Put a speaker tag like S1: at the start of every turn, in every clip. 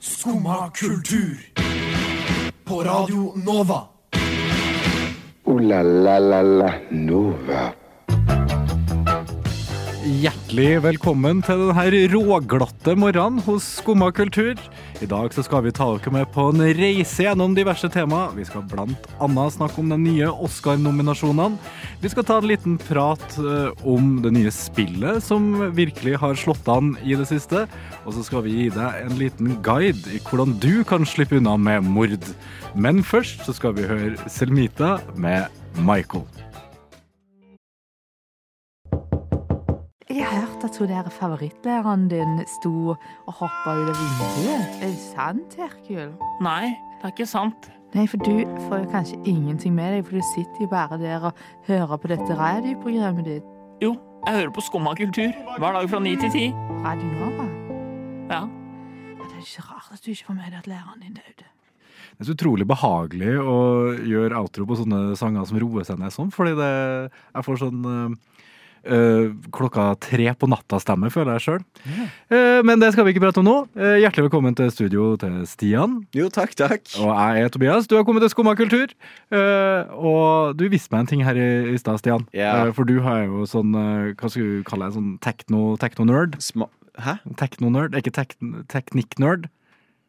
S1: Skumma kultur. På Radio Nova.
S2: Ooh la la la la Nova.
S3: Hjertelig velkommen til denne råglatte morgenen hos Skumma kultur. I dag så skal vi ta dere med på en reise gjennom diverse temaer. Vi skal blant annet snakke om de nye Oscar-nominasjonene. Vi skal ta en liten prat eh, om det nye spillet som virkelig har slått an i det siste. Og så skal vi gi deg en liten guide i hvordan du kan slippe unna med mord. Men først så skal vi høre Selmita med Michael.
S4: Jeg har hørt at hun der favorittlæreren din sto og hoppa ut av vinduet. Er det sant, Herkul?
S5: Nei, det er ikke sant.
S4: Nei, for du får jo kanskje ingenting med deg, for du sitter jo bare der og hører på dette radioprogrammet ditt.
S5: Jo, jeg hører på Skumma kultur hver dag fra ni til ti.
S4: Radio Nova.
S5: Ja.
S4: Ja, Det er ikke rart at du ikke får med deg at læreren din døde.
S3: Det er så utrolig behagelig å gjøre outro på sånne sanger som roer seg ned sånn, fordi det, jeg får sånn eh, eh, klokka tre på natta-stemme, føler jeg sjøl. men det skal vi ikke prate om nå. Eh, hjertelig velkommen til studio til Stian.
S6: Jo, takk, takk.
S3: Og jeg er Tobias. Du har kommet til Skumma kultur. Eh, og du viste meg en ting her i, i stad, Stian.
S6: Ja.
S3: Eh, for du har jo sånn eh, Hva skal du kalle det? Sånn techno- techno-nerd?
S6: Sma Hæ?
S3: Techno-nerd? Ikke tek teknikk-nerd?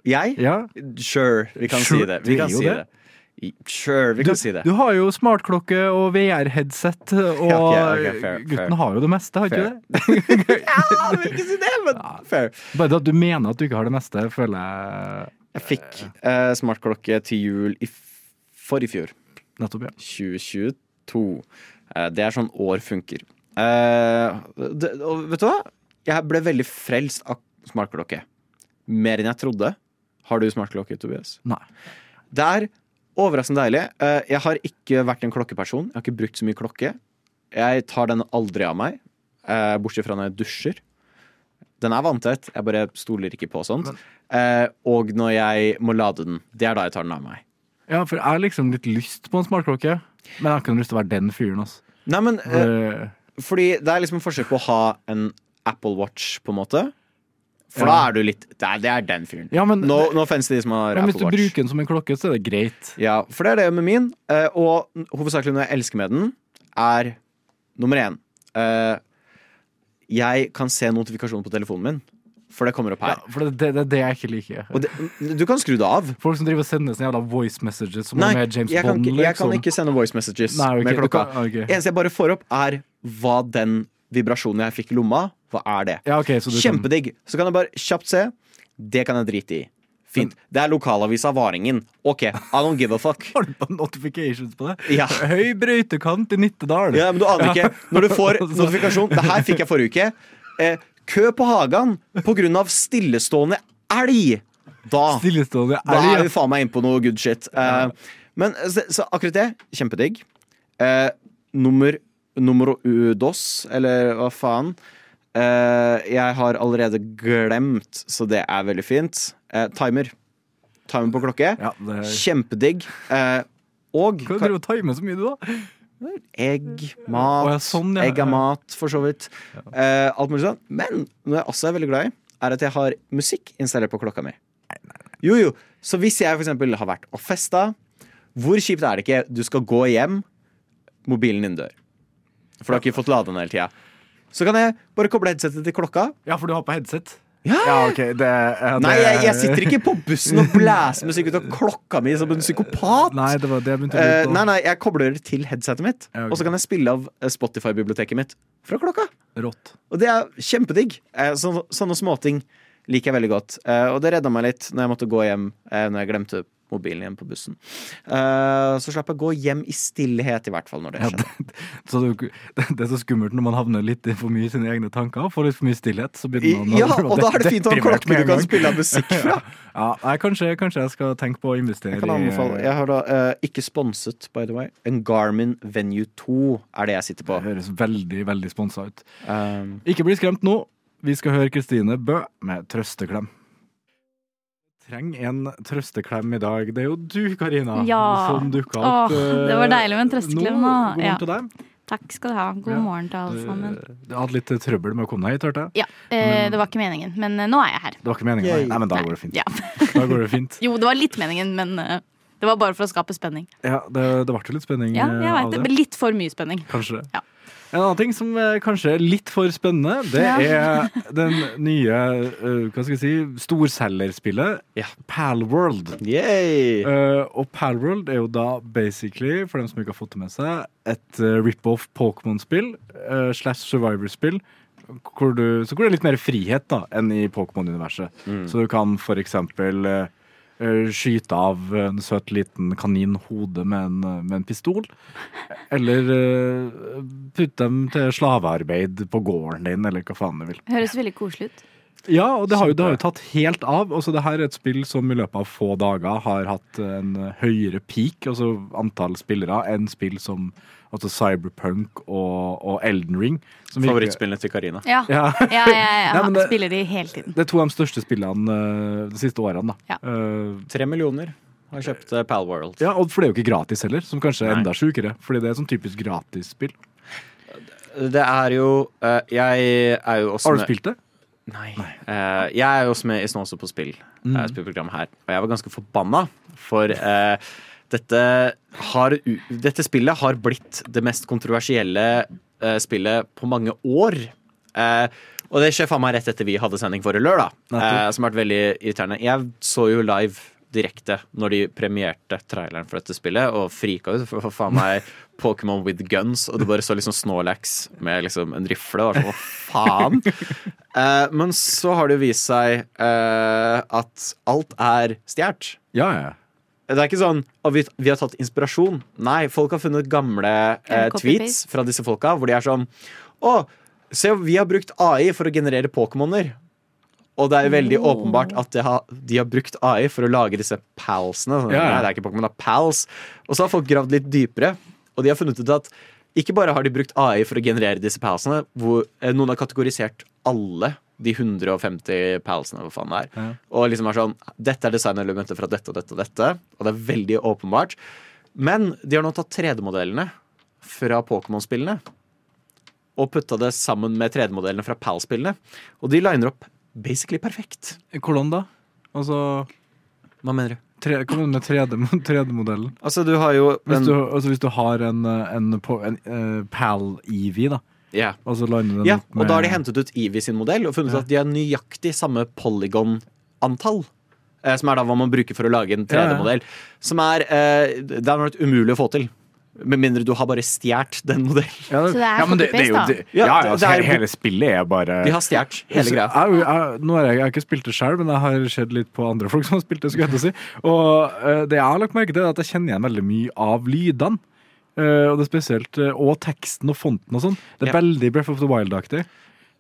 S6: Jeg?
S3: Ja.
S6: Sure, vi kan
S3: Sure,
S6: si det. Vi
S3: det er
S6: kan
S3: jo
S6: si
S3: det.
S6: det. I- Sure, vi
S3: Du,
S6: kan si det.
S3: du har jo smartklokke og VR-headset, og
S6: Ja, ok, ok, fair,
S3: gutten
S6: fair.
S3: har jo det meste, har ikke
S6: Fair.
S3: det?
S6: Ja, vi kan ikke si det, men fair.
S3: Bare det at du mener at du ikke har det meste, føler jeg
S6: Jeg fikk eh, smartklokke til jul i f- for i fjor.
S3: nettopp ja.
S6: 2022. Eh, det er sånn år funker. Eh, det, og vet du hva? Jeg ble veldig frelst av smartklokke. Mer enn jeg trodde. Har du smartklokke, Tobias?
S3: Nei.
S6: Det er overraskende deilig. Eh, Jeg har ikke vært en klokkeperson. Jeg har ikke brukt så mye klokke. Jeg tar den aldri av meg, eh, bortsett fra når jeg dusjer. Den er vanntett, jeg bare stoler ikke på sånt. Eh, Og når jeg må lade den. Det er da jeg tar den av meg.
S3: Ja, for jeg har liksom litt lyst på en smartklokke, men jeg har ikke noe lyst til å være den fyren, altså.
S6: Nei, men
S3: Eh,
S6: eh, Fordi det er liksom en forskjell på å ha en Apple Watch, på en måte. For da
S3: Ja.
S6: er du litt Det er, det er den fyren.
S3: Ja, men,
S6: Nå, nå fens til de som har
S3: men
S6: Apple
S3: hvis du
S6: Watch.
S3: bruker den som en klokke, så er det greit.
S6: Ja, for det er det med min. eh, Og hovedsakelig når jeg elsker med den, er nummer én eh, Jeg kan se notifikasjonen på telefonen min, for det kommer opp
S3: Ja,
S6: her.
S3: for det det- det er det, jeg ikke liker.
S6: Og det, du kan skru det av.
S3: Folk som driver og sender sånne jævla voice messages som
S6: Nei,
S3: om jeg er James
S6: jeg kan,
S3: Bond,
S6: ikke, jeg kan
S3: liksom.
S6: ikke sende voice messages
S3: Nei, ok,
S6: med
S3: du
S6: klokka.
S3: kan- ok.
S6: Eneste jeg bare får opp, er hva den vibrasjonen jeg fikk i lomma, hva er det?
S3: Ja, ok, så du kan-
S6: Kjempedigg. Så kan jeg bare kjapt se. Det kan jeg drite i. Fint. Det er lokalavisa Varingen. OK, I don't give a fuck.
S3: Har du på notifications på det?
S6: Ja.
S3: Høy brøytekant i Nittedal.
S6: Ja, men du aner ikke. Når du får
S3: Altså.
S6: notifikasjon Det her fikk jeg forrige uke. Eh, kø på Hagan pga. stillestående elg. Da,
S3: Stillestående
S6: da
S3: elg.
S6: er vi faen meg inne på noe good shit. Eh, men så, så akkurat det, kjempedigg. Eh, nummer Numero dos, eller hva faen. Eh, jeg har allerede glemt, så det er veldig fint. Eh, timer. Timer på klokke.
S3: Ja, det er-
S6: Kjempedigg. Eh, og
S3: Hva driver du og timer så mye, du, da?
S6: egg, mat.
S3: Å, ja, sånn, ja.
S6: Egg er
S3: Ja.
S6: mat, for så vidt. Eh, alt mulig sånn. Men noe jeg også er veldig glad i, er at jeg har musikk installert på klokka mi. Jo, jo. Så hvis jeg for eksempel har vært og festa, hvor kjipt er det ikke? Du skal gå hjem, mobilen din dør. For du har ikke fått lade den hele tida. Så kan jeg bare koble headsetet til klokka.
S3: Ja, for du har på headset?
S6: Ja.
S3: ok, det, ja,
S6: Nei,
S3: det-
S6: jeg, jeg sitter ikke på bussen og blæser musikk ut av klokka mi som en psykopat.
S3: Nei, det var det jeg begynte å
S6: Eh,
S3: lure på.
S6: nei, nei, jeg kobler det til headsetet mitt,
S3: Ja, ok.
S6: og så kan jeg spille av eh, Spotify-biblioteket mitt fra klokka.
S3: Rått.
S6: Og det er kjempedigg. Eh, så, sånne småting liker jeg veldig godt. Eh, og det redda meg litt når jeg måtte gå hjem eh, når jeg glemte mobilen igjen på bussen. Eh, så slapp jeg å gå hjem i stillhet, i hvert fall, når det skjedde.
S3: Så du, det er så skummelt når man havner litt for mye i sine egne tanker og får litt for mye stillhet. Så
S6: I,
S3: begynner man
S6: ja, og da er det fint å ha en
S3: deprimert
S6: klokke
S3: med
S6: du
S3: en
S6: kan
S3: gang.
S6: spille av musikk fra.
S3: Ja, nei, kanskje, kanskje jeg skal tenke på å investere
S6: Jeg kan anbefale. Jeg har da eh, ikke sponset, by the way. En Garmin Venue 2 er det jeg sitter på.
S3: Det høres veldig, veldig sponsa ut.
S6: Um,
S3: Ikke bli skremt nå. Vi skal høre Kristine Bø med trøsteklem. Trenger en trøsteklem i dag. Det er jo du, Karina,
S7: Ja.
S3: som dukka opp.
S7: Åh, det var
S3: eh,
S7: deilig med en trøsteklem,
S3: nå.
S7: da.
S3: God morgen
S7: Ja.
S3: til deg.
S7: Takk skal du ha. God
S3: Ja.
S7: morgen til alle sammen.
S3: Du, du hadde litt trøbbel med å komme deg hit, hørte jeg.
S7: Ja, eh, Det var ikke meningen, men eh, nå er jeg her.
S3: Det var ikke meningen, nei.
S6: Yay.
S3: nei men da
S7: Nei,
S3: går det fint.
S7: Ja.
S3: Da går det fint.
S7: Jo, det var litt meningen, men eh, det var bare for å skape spenning.
S3: Ja, det, det ble jo litt spenning
S7: Ja,
S3: eh,
S7: jeg
S3: av
S7: vet det,
S3: det.
S7: men Litt for mye spenning.
S3: Kanskje det.
S7: Ja.
S3: En annen ting som eh, kanskje er litt for spennende, det er den nye eh, hva skal jeg si, storselgerspillet
S6: Ja.
S3: Palworld.
S6: Yay!
S3: Eh, og Palworld er jo da basically, for dem som ikke har fått det med seg, et eh, rip-off Pokémon-spill eh, slash Survivor-spill. Hvor du, så hvor det er litt mer frihet da enn i Pokémon-universet. Så du kan for eksempel eh, eh, skyte av en søt liten kanin hodet med en, eh, med en pistol. Eller eh, putte dem til slavearbeid på gården din, eller hva faen du vil.
S7: Høres veldig koselig ut.
S3: Ja, og det har jo, det har jo tatt helt av. Også det her er et spill som i løpet av få dager har hatt en høyere peak, altså antall spillere, enn spill som altså Cyberpunk og, og Elden Ring. som virker-
S6: Favorittspillene til Karina.
S7: Ja, ja,
S3: Ja.
S7: ja, ja,
S3: Nei, men det-
S7: spiller de hele tiden.
S3: Det er to av de største spillene eh, de siste årene. da.
S7: Ja.
S3: Eh,
S6: Tre millioner har kjøpt eh, Palworld.
S3: ja, og for det er jo ikke gratis heller, som kanskje er
S6: Nei.
S3: enda sjukere. Fordi det er sånn typisk gratisspill.
S6: Det er jo eh, Jeg er jo også
S3: Har du
S6: med-
S3: spilt det?
S6: Nei. Eh, jeg er jo også med i Snåse på spill,
S3: Mm.
S6: eh, spillprogrammet her. Og jeg var ganske forbanna, for eh, dette, har, u- dette spillet har blitt det mest kontroversielle eh, spillet på mange år. Eh, og det skjer faen meg rett etter vi hadde sending forrige lørdag, eh,
S3: Nettopp.
S6: som har vært veldig irriterende. Jeg så jo live direkte når de premierte traileren for dette spillet, og frika ut. For for faen meg Pokémon with guns, og det bare så liksom Snorlax med liksom en rifle. Og var sånn, hva faen? Eh, men så har det jo vist seg eh, at alt er stjålet.
S3: Ja, ja.
S6: Det er ikke sånn at vi, vi har tatt inspirasjon. Nei, folk har funnet gamle eh,
S7: Ja, copy-paste.
S6: tweets fra disse folka hvor de er sånn Å, se, vi har brukt AI for å generere Pokémoner. Og det er veldig åpenbart at de har, de har brukt AI for å lage disse palsene. Sånn,
S3: Ja, ja.
S6: Nei, det er ikke Pokémon, det er pals. Og så har folk gravd litt dypere, og de har funnet ut at ikke bare har de brukt AI for å generere disse palsene, hvor eh, noen har kategorisert alle de 150 palsene, hva faen det er. Og liksom er sånn Dette er designelementer fra dette og dette og dette. Og det er veldig åpenbart. Men de har nå tatt 3D-modellene fra Pokémon-spillene og putta det sammen med 3D-modellene fra PAL-spillene. Og de liner opp basically perfekt.
S3: Hvordan da? Altså
S6: Hva mener du?
S3: tre, Kom igjen med 3D-modellen.
S6: Altså, du har jo
S3: Hvis,
S6: den
S3: du- altså, hvis du har en, eh, en, po- en, eh, PAL-EV, da.
S6: Ja.
S3: Og så lander den
S6: ja,
S3: opp
S6: og da har de
S3: med-
S6: hentet ut Evie sin modell og funnet ut at de har nøyaktig samme polygon-antall. eh, Som er da hva man bruker for å lage en 3D-modell. Som er eh, Det er nok umulig å få til. Med mindre du har bare stjålet den modellen.
S3: Ja,
S7: Så det er
S3: men det, det er jo,
S7: copy-paste,
S3: det,
S6: da?
S3: ja, ja,
S6: Ja, det-
S3: altså,
S6: det er-
S3: hele spillet er bare
S6: De har stjålet hele greia.
S3: Jeg, jeg, nå har jeg, jeg har ikke spilt det sjøl, men jeg har sett litt på andre folk som har spilt det. skulle jeg til å si. Og eh, det jeg har lagt merke til, er at jeg kjenner igjen veldig mye av lydene. Eh, og det er spesielt, eh, og teksten og fonten og sånn. Det er
S6: Ja.
S3: veldig Breath of the Wild-aktig.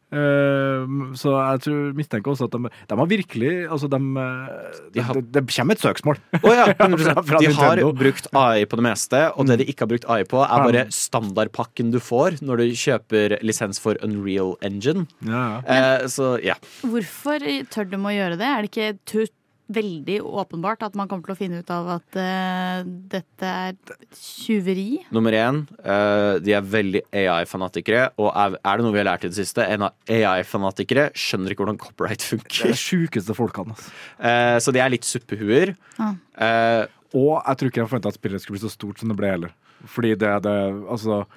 S3: Eh, så jeg tror, mistenker også at de, de har virkelig altså de, eh,
S6: De har-
S3: det- det kommer et søksmål.
S6: Å ja,
S3: Fra-
S6: 100%.
S3: fra
S6: De har
S3: Nintendo.
S6: brukt AI på det meste, og det de ikke har brukt AI på, er bare standardpakken du får når du kjøper lisens for Unreal Engine. Eh, så ja.
S7: Hvorfor tør de å gjøre det? Er det ikke tu- veldig åpenbart at man kommer til å finne ut av at eh, dette er tjuveri?
S6: Nummer én, eh, de er veldig AI-fanatikere. Og er, er det noe vi har lært i det siste? En av AI-fanatikere skjønner ikke hvordan copyright
S3: De
S6: funker.
S3: sjukeste folkene. Altså.
S6: Eh, så de er litt suppehuer.
S7: Ah.
S6: Eh,
S3: Og jeg tror ikke jeg forventa at spillet skulle bli så stort som det ble heller. Fordi det er det Altså.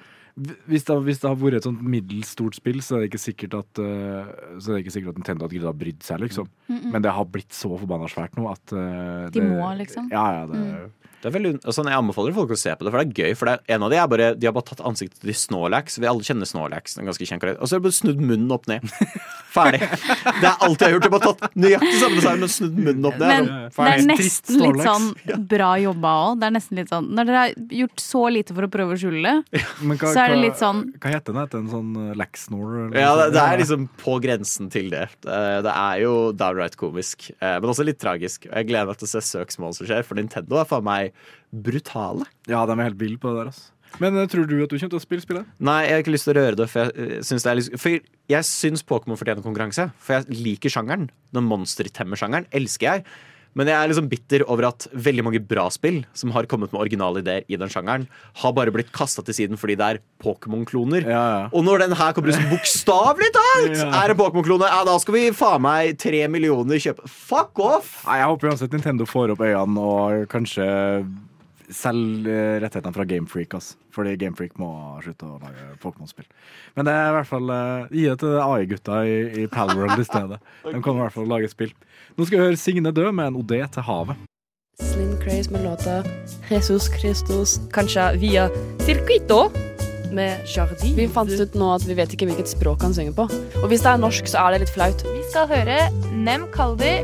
S3: Hvis det, hvis det har vært et sånt middels stort spill, så er det ikke sikkert at eh, Så er det ikke sikkert at Nintendo hadde giddet å brydd seg, liksom. Men det har blitt så forbanna svært nå at eh,
S7: De
S3: det-
S7: må, liksom.
S3: Ja, ja, det,
S6: Det er veldig, altså, jeg anbefaler folk å se på det, for det er gøy. For det er, en av de er bare, De har bare tatt ansiktet til Snorlax. Vi alle kjenner Snorlax. En ganske kjent karakter. Og så har de bare snudd munnen opp ned. Ferdig. Det er alt jeg har gjort. De har bare tatt nøyaktig samme design, men snudd munnen opp ned.
S7: Men det er nesten litt sånn
S3: Snorlax.
S7: bra jobba òg. Det er nesten litt sånn Når dere har gjort så lite for å prøve å skjule det,
S3: Men hva,
S7: Så er det
S3: hva-
S7: litt sånn-
S3: Hva heter den? Heter den sånn eh, Laxnor? eller
S6: Ja,
S3: noe
S6: det,
S3: sånt?
S6: det er liksom på grensen til det. Eh, Det er jo downright komisk, eh, men også litt tragisk. Og jeg gleder meg til å se søksmål som skjer, for Nintendo er faen meg brutale.
S3: Ja, de er helt ville på det der, altså. Men eh, tror du at du kommer til å spille spillet?
S6: Nei, jeg har ikke lyst til å røre det, for jeg eh, syns det er litt For jeg syns Pokémon fortjener konkurranse, for jeg liker sjangeren. Den monstertemmer-sjangeren elsker jeg. Men jeg er liksom bitter over at veldig mange bra spill som har kommet med originale ideer i den sjangeren, har bare blitt kasta til siden fordi det er Pokémon-kloner.
S3: Ja, ja.
S6: Og når den her kommer ut som bokstavelig talt
S3: Ja.
S6: er en Pokémon-klone, ja, da skal vi faen meg tre millioner kjøpe Fuck off!
S3: Nei, Jeg håper uansett Nintendo får opp øynene og kanskje selger eh, rettighetene fra Gamefreak. Altså. Fordi Gamefreak må slutte å lage Pokémon-spill. Men det er i hvert fall eh, gi det til AI-gutta i, i Palworld i stedet. De kan i hvert fall lage spill. Nå skal vi høre Signe dø med en OD til havet.
S8: Slim Craze med låta Jesus Christus, kanskje via Circuito med Jardi. Vi fant ut nå at vi vet ikke hvilket språk han synger på. Og hvis det er norsk, så er det litt flaut.
S9: Vi skal høre Nem Kaldi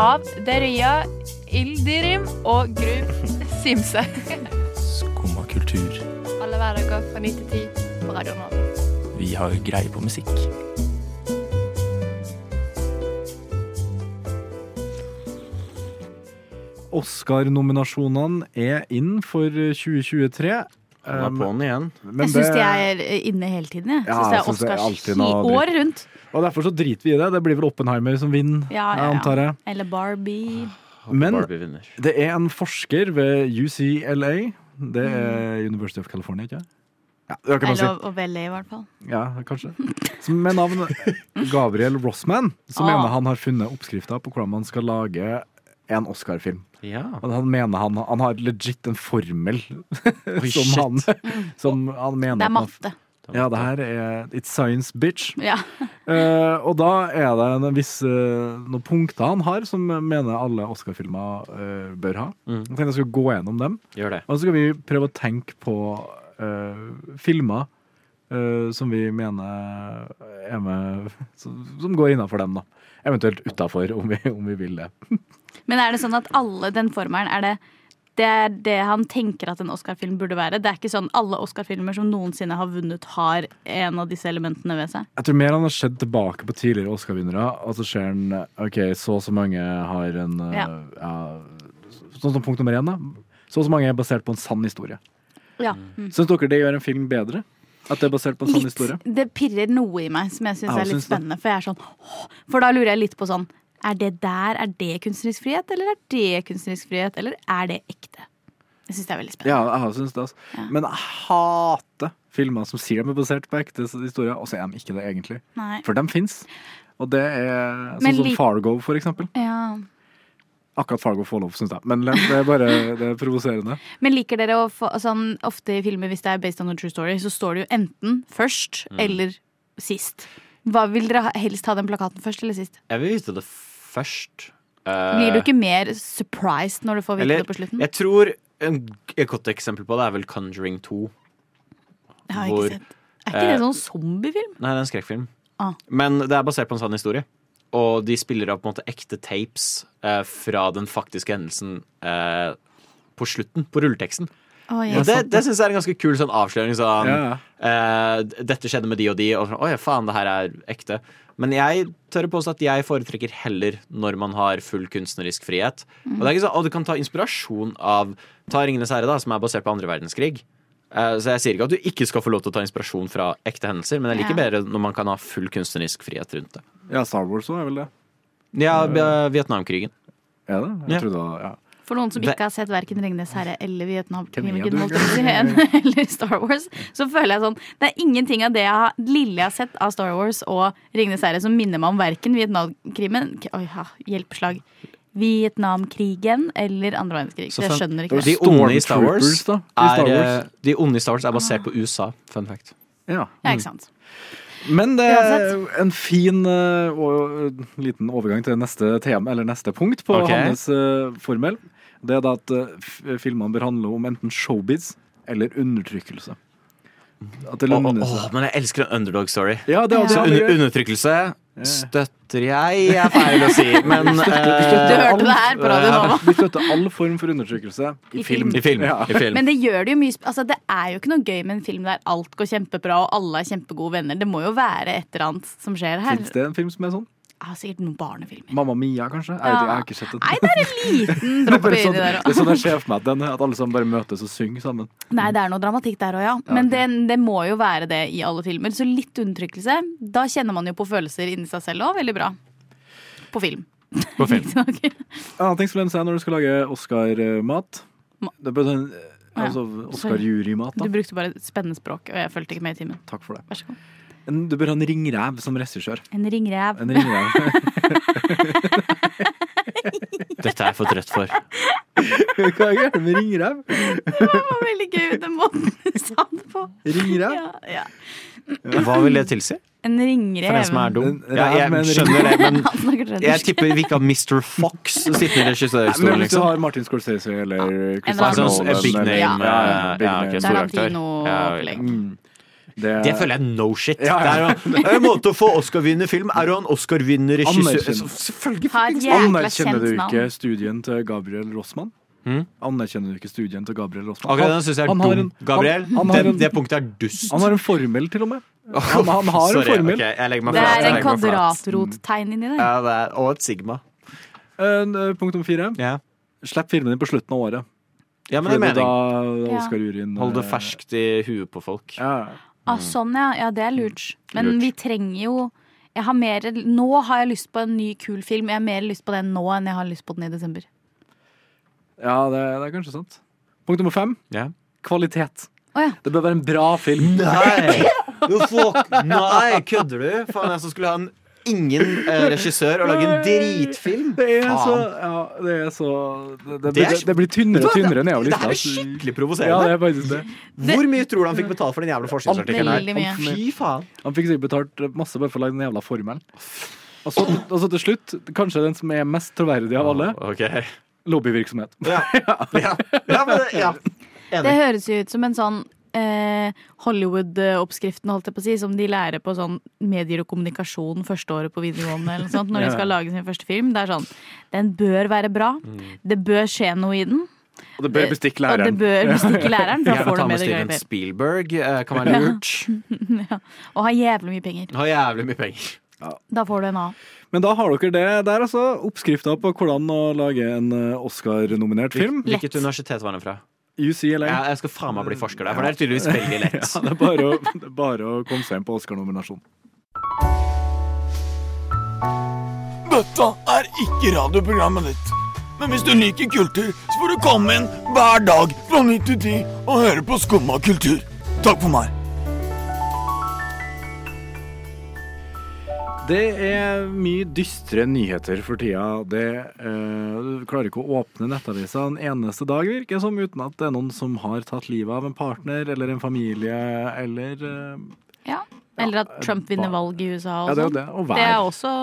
S9: av Deria Ildirim og Grum Simse.
S5: Skumma kultur.
S9: Alle hverdager fra 9 til 10 på Radio Nova.
S5: Vi har greie på musikk.
S3: Oscar-nominasjonene er inn for 2023.
S6: Nå er
S3: Um,
S6: på'n igjen.
S3: men
S7: jeg syns
S3: det-
S7: de er inne hele tiden. Jeg
S3: Ja,
S7: syns det
S3: jeg
S7: er
S3: synes det er
S7: Oscars
S3: alltid noe
S7: i år rundt.
S3: Og derfor så driter vi i det. Det blir vel Oppenheimer som vinner,
S7: Ja, ja, ja.
S3: antar jeg.
S7: Eller Barbie.
S3: Men
S6: Barbie vinner.
S3: det er en forsker ved UCLA. Det er
S7: Mm.
S3: University of California, ikke Ja, det kan man si.
S7: Eller Ovelle, i hvert fall.
S3: Ja, kanskje. Som med navn Gabriel Rossman, som
S7: Ah.
S3: mener han har funnet oppskrifta på hvordan man skal lage en Oscar-film.
S6: Ja.
S3: Og Han mener han, han har legit en formel som,
S6: shit.
S3: han, som han mener
S7: Det
S3: at
S7: er
S3: man-
S7: matte.
S3: Ja, det her er It's science, bitch.
S7: Ja.
S3: Eh, og da er det en viss, eh, noen punkter han har som eh, mener alle Oscar-filmer eh, bør ha.
S7: Mm.
S3: Jeg tenkte jeg skulle gå gjennom dem.
S6: Gjør det.
S3: Og så skal vi prøve å tenke på eh, filmer eh, som vi mener er med Som, som går innafor dem, da. Eventuelt utafor, om, vi- om vi vil det.
S7: Men er det sånn at alle den formelen er det det er det han tenker at en Oscar-film burde være. Det er ikke sånn alle Oscar-filmer som noensinne har vunnet, har en av disse elementene ved seg.
S3: Jeg tror mer han har sett tilbake på tidligere Oscar-vinnere, og så ser han OK, så og så mange har en eh, ja.
S7: Ja.
S3: Sånn som punkt nummer én, da. Så og så mange er basert på en sann historie.
S7: Ja. Mm.
S3: Syns dere det gjør en film bedre? At det er basert på en sann
S7: Litt,
S3: Sånn historie?
S7: det pirrer noe i meg som jeg syns
S3: Ja,
S7: er litt
S3: syns du?
S7: spennende. For, jeg er sånn, «Åh», for da lurer jeg litt på sånn Er det der, er det kunstnerisk frihet? Eller er det kunstnerisk frihet? Eller er det ekte? Jeg syns det er veldig spennende.
S3: Ja, jeg syns det. Altså. Men jeg hater filmer som sier de er basert på ekte historier, og så er de ikke det egentlig.
S7: Nei.
S3: For de fins. Og det er
S7: Men
S3: sånn som
S7: li-
S3: Fargo, for eksempel.
S7: Ja.
S3: Akkurat Fargo får lov, syns jeg. Men det er bare det er provoserende.
S7: Men liker dere å få sånn, Ofte i filmer hvis det er based on a true story, så står det jo enten først
S6: Mm.
S7: eller sist. Hva Vil dere ha- helst ha den plakaten først eller sist?
S6: Jeg vil vite det først.
S7: Blir du ikke mer surprised når du får vite
S6: Eh, Eller,
S7: det på slutten?
S6: jeg tror en, et godt eksempel på det er vel Conjuring 2.
S7: Jeg har
S6: hvor- eh,
S7: ikke sett. Er ikke det en sånn zombiefilm?
S6: Nei, det er en skrekkfilm.
S7: Ah.
S6: Men det er basert på en sann historie. Og de spiller av på en måte ekte tapes eh, fra den faktiske hendelsen eh, på slutten, på rulleteksten.
S7: Å,
S6: Og
S7: jeg-
S6: det det syns jeg er en ganske kul sånn avsløring. Sånn,
S3: Ja,
S6: eh, dette skjedde med de og de, og sånn, oi, faen, det her er ekte. Men jeg tør å påstå at jeg foretrekker heller når man har full kunstnerisk frihet.
S3: Mm.
S6: Og, det er ikke sånn, og du kan ta inspirasjon av Ta 'Ringenes herre', da, som er basert på andre verdenskrig. Eh, Så jeg sier ikke at du ikke skal få lov til å ta inspirasjon fra ekte hendelser, men jeg liker
S7: Ja.
S6: bedre når man kan ha full kunstnerisk frihet rundt det.
S3: Ja, Star Wars òg er vel det.
S6: Ja, eh, Vietnamkrigen.
S3: Er det? Jeg
S6: Ja.
S3: trodde det var ja.
S7: For noen som
S6: Det-
S7: ikke har sett verken 'Ringenes herre' eller
S3: Hvem er du?
S7: Vietnamkrigen, holdt jeg på å si, eller Star Wars, så føler jeg sånn Det er ingenting av det jeg har, lille jeg har sett av Star Wars og 'Ringenes herre', som minner meg om verken Vietnamkrimen Oi, ha, hjelpeslag. Vietnamkrigen eller andre verdenskrig.
S6: Så
S7: Jeg
S6: fan-
S7: skjønner ikke
S3: var
S7: det.
S6: De onde i Star Wars,
S3: Stormtroopers, da, i Star
S6: er,
S3: Wars. Ah.
S6: eh, de onde i Star Wars er basert på USA. Fun fact.
S3: ja.
S7: Ja, ikke sant.
S3: Men det er
S7: Uansett.
S3: en fin eh, og liten overgang til neste tema, eller neste punkt på
S6: Ok.
S3: hans eh, formel. Det er da at eh, f- filmene bør handle om enten showbiz eller undertrykkelse. At det
S6: Åh,
S3: lønner
S6: åh,
S3: seg.
S6: åh, men jeg elsker en underdog-story.
S3: Ja, det er altså-
S6: Så
S3: også
S6: under,
S3: under,
S6: undertrykkelse støtter jeg, er feil å si, men
S7: Du
S6: eh,
S7: hørte det her på Radio Nova.
S3: Vi støtter all form for undertrykkelse i
S7: I
S3: film.
S7: film.
S6: i film.
S3: Ja.
S6: I film.
S7: Men det gjør det jo mye sp- Altså det er jo ikke noe gøy med en film der alt går kjempebra og alle er kjempegode venner. Det må jo være et eller annet som skjer her.
S3: Fins det en film som er sånn?
S7: Jeg har sikkert noen barnefilmer.
S3: Mamma Mia, kanskje? Jeg, vet ikke, jeg har ikke sett den.
S7: Nei, det er en liten
S3: Det er
S7: dropp
S3: bare
S7: i
S3: sånn,
S7: det der.
S3: det er sånn jeg ser for meg at den er, at alle sammen bare møtes og synger sammen.
S7: Nei, det er noe dramatikk der òg, ja. Men
S3: ok.
S7: det, det må jo være det i alle filmer. Så litt undertrykkelse. Da kjenner man jo på følelser inni seg selv òg. Veldig bra. På film.
S3: På film.
S7: Riktignok.
S3: En annen ting som lønner seg når du skal lage Oscar-mat
S7: Ma-
S3: Det er bare sånn,
S7: Ah, ja.
S3: Altså Oscar-jurymat,
S7: Du
S3: da.
S7: brukte bare et spennende språk, og jeg fulgte ikke med i timen.
S3: Takk for det.
S7: Vær så god.
S3: En- Du bør ha en ringrev som regissør.
S7: En ringrev.
S3: En ringrev.
S6: Dette er jeg for trøtt for.
S3: Hva er gærent med ringrev?
S7: Det var veldig gøy, den måten du sa det på.
S3: Ringrev?
S7: Ja, ja.
S6: Hva vil det tilsi?
S7: En ringrev.
S6: For en som er dum.
S3: En
S6: Ja,
S3: ræv med en
S6: jeg skjønner det, men
S7: Han snakker
S6: jeg
S7: trøndersk.
S6: tipper vi ikke har Mr. Fox sittende i
S3: Nei, men
S6: regissørstolen,
S3: hvis du
S6: liksom.
S3: har Martin Scorsese eller
S7: eller annen
S6: Altså,
S3: Christopher
S7: sånn
S3: Nolan
S6: big name.
S3: eller-
S6: Ja,
S7: Ja.
S6: ja, ja, ok,
S3: big
S6: stor
S3: name.
S6: aktør. Ja,
S7: Tarantino-opplegg.
S3: Mm. Det,
S6: Det føler jeg er no shit.
S3: Ja, ja.
S6: Det er jo en måte å få Oscar-vinner film er å ha en Oscar-vinner regissør.
S3: Anerkjenn.
S6: Selvfølgelig.
S7: Ha et jækla
S3: Anerkjenner
S7: kjent
S3: du
S7: navn.
S3: ikke studien til Gabriel Rossmann?
S6: Mm.
S3: Anerkjenner du ikke studien til Gabriel Rossmann?
S6: Akkurat den syns jeg er
S3: Han har
S6: dum,
S3: en-
S6: Gabriel.
S3: han- han har
S6: Den-
S3: en-
S6: Det punktet er dust.
S3: Han har en formel, til og med. Han, han har en
S6: Sorry,
S3: formel.
S6: ok, jeg legger meg
S7: Det
S6: flat, jeg
S7: er en
S6: legger meg flat.
S7: kvadratrottegn inni der.
S6: Ja, det er, og et sigma.
S3: En, eh, Punkt om fire.
S6: Ja,
S3: Slipp filmen din på slutten av året.
S6: ja men det
S3: Fordi
S6: er
S3: det
S6: mening.
S3: da
S7: Ja.
S3: Oscar-juryen
S6: Hold det
S3: eh,
S6: ferskt i huet på folk.
S3: Ja.
S7: Ah, sånn, ja. ja. Det er lurt. Men
S6: Lurt.
S7: vi trenger jo jeg har mer, Nå har jeg lyst på en ny, kul film. Jeg har mer lyst på den nå enn jeg har lyst på den i desember.
S3: Ja, det, det er kanskje sant. Punkt nummer fem.
S6: Ja.
S3: Kvalitet.
S7: Å, ja.
S3: Det bør være en bra film.
S6: Nei! Jo, fuck. Nei, kødder du? Faen, jeg som skulle ha en ingen eh, regissør og lage en dritfilm.
S3: Det er så,
S6: Faen.
S3: ja, det, er så det, det,
S6: Det er
S3: blir- det blir tynnere og tynnere nedover
S6: Det her
S3: lista.
S6: er skikkelig
S3: Ja, det
S6: provoserende.
S3: er faktisk det.
S6: Hvor mye tror du han fikk betalt for den jævla forskningsartikkelen her?
S7: Veldig mye.
S6: Fy faen.
S3: Han fikk sikkert betalt masse bare for å lage den jævla formelen. Og så, og så til slutt, kanskje den som er mest troverdig av alle,
S6: Ok.
S3: lobbyvirksomhet.
S6: Ja. Ja. Ja, men, det- ja.
S7: Det høres jo ut som en sånn eh, Hollywood-oppskriften, holdt jeg på å si, som de lærer på sånn medier og kommunikasjon første året på videregående eller noe sånt, når de skal lage sin første film. Det er sånn Den bør være bra. Det bør skje noe i den.
S3: Og det
S7: bør
S3: bestikke
S7: Og det bør bestikke læreren, for da
S6: Gjerne
S7: får
S6: ta med
S7: du med det gøy
S6: Steven
S7: der.
S6: Spielberg. eh, Kan være lurt.
S7: Og ha jævlig mye penger.
S6: Har jævlig mye penger.
S7: Da får du en A.
S3: Men da har dere det der, altså. Oppskrifta på hvordan å lage en eh, Oscar-nominert film.
S7: Lett.
S6: Hvilket universitet var den fra?
S3: UCLA.
S6: Jeg, jeg skal faen meg bli forsker der, for det er tydeligvis veldig lett.
S3: Ja, det er bare å, det er bare å komme seg inn på Oscar-nominasjon.
S1: Dette er ikke radioprogrammet ditt. Men hvis du liker kultur, så får du komme inn hver dag fra 9 til 10 og høre på Skumma kultur. Takk for meg.
S3: Det er mye dystre nyheter for tida. Det, eh, du klarer ikke å åpne nettavisa en eneste dag, virker det som, uten at det er noen som har tatt livet av en partner eller en familie eller eh,
S7: Ja. Eller at Trump vinner valg i USA
S3: Ja,
S7: og
S3: det er jo
S7: sånn.
S3: det. Og
S7: Det er
S3: vær.
S7: også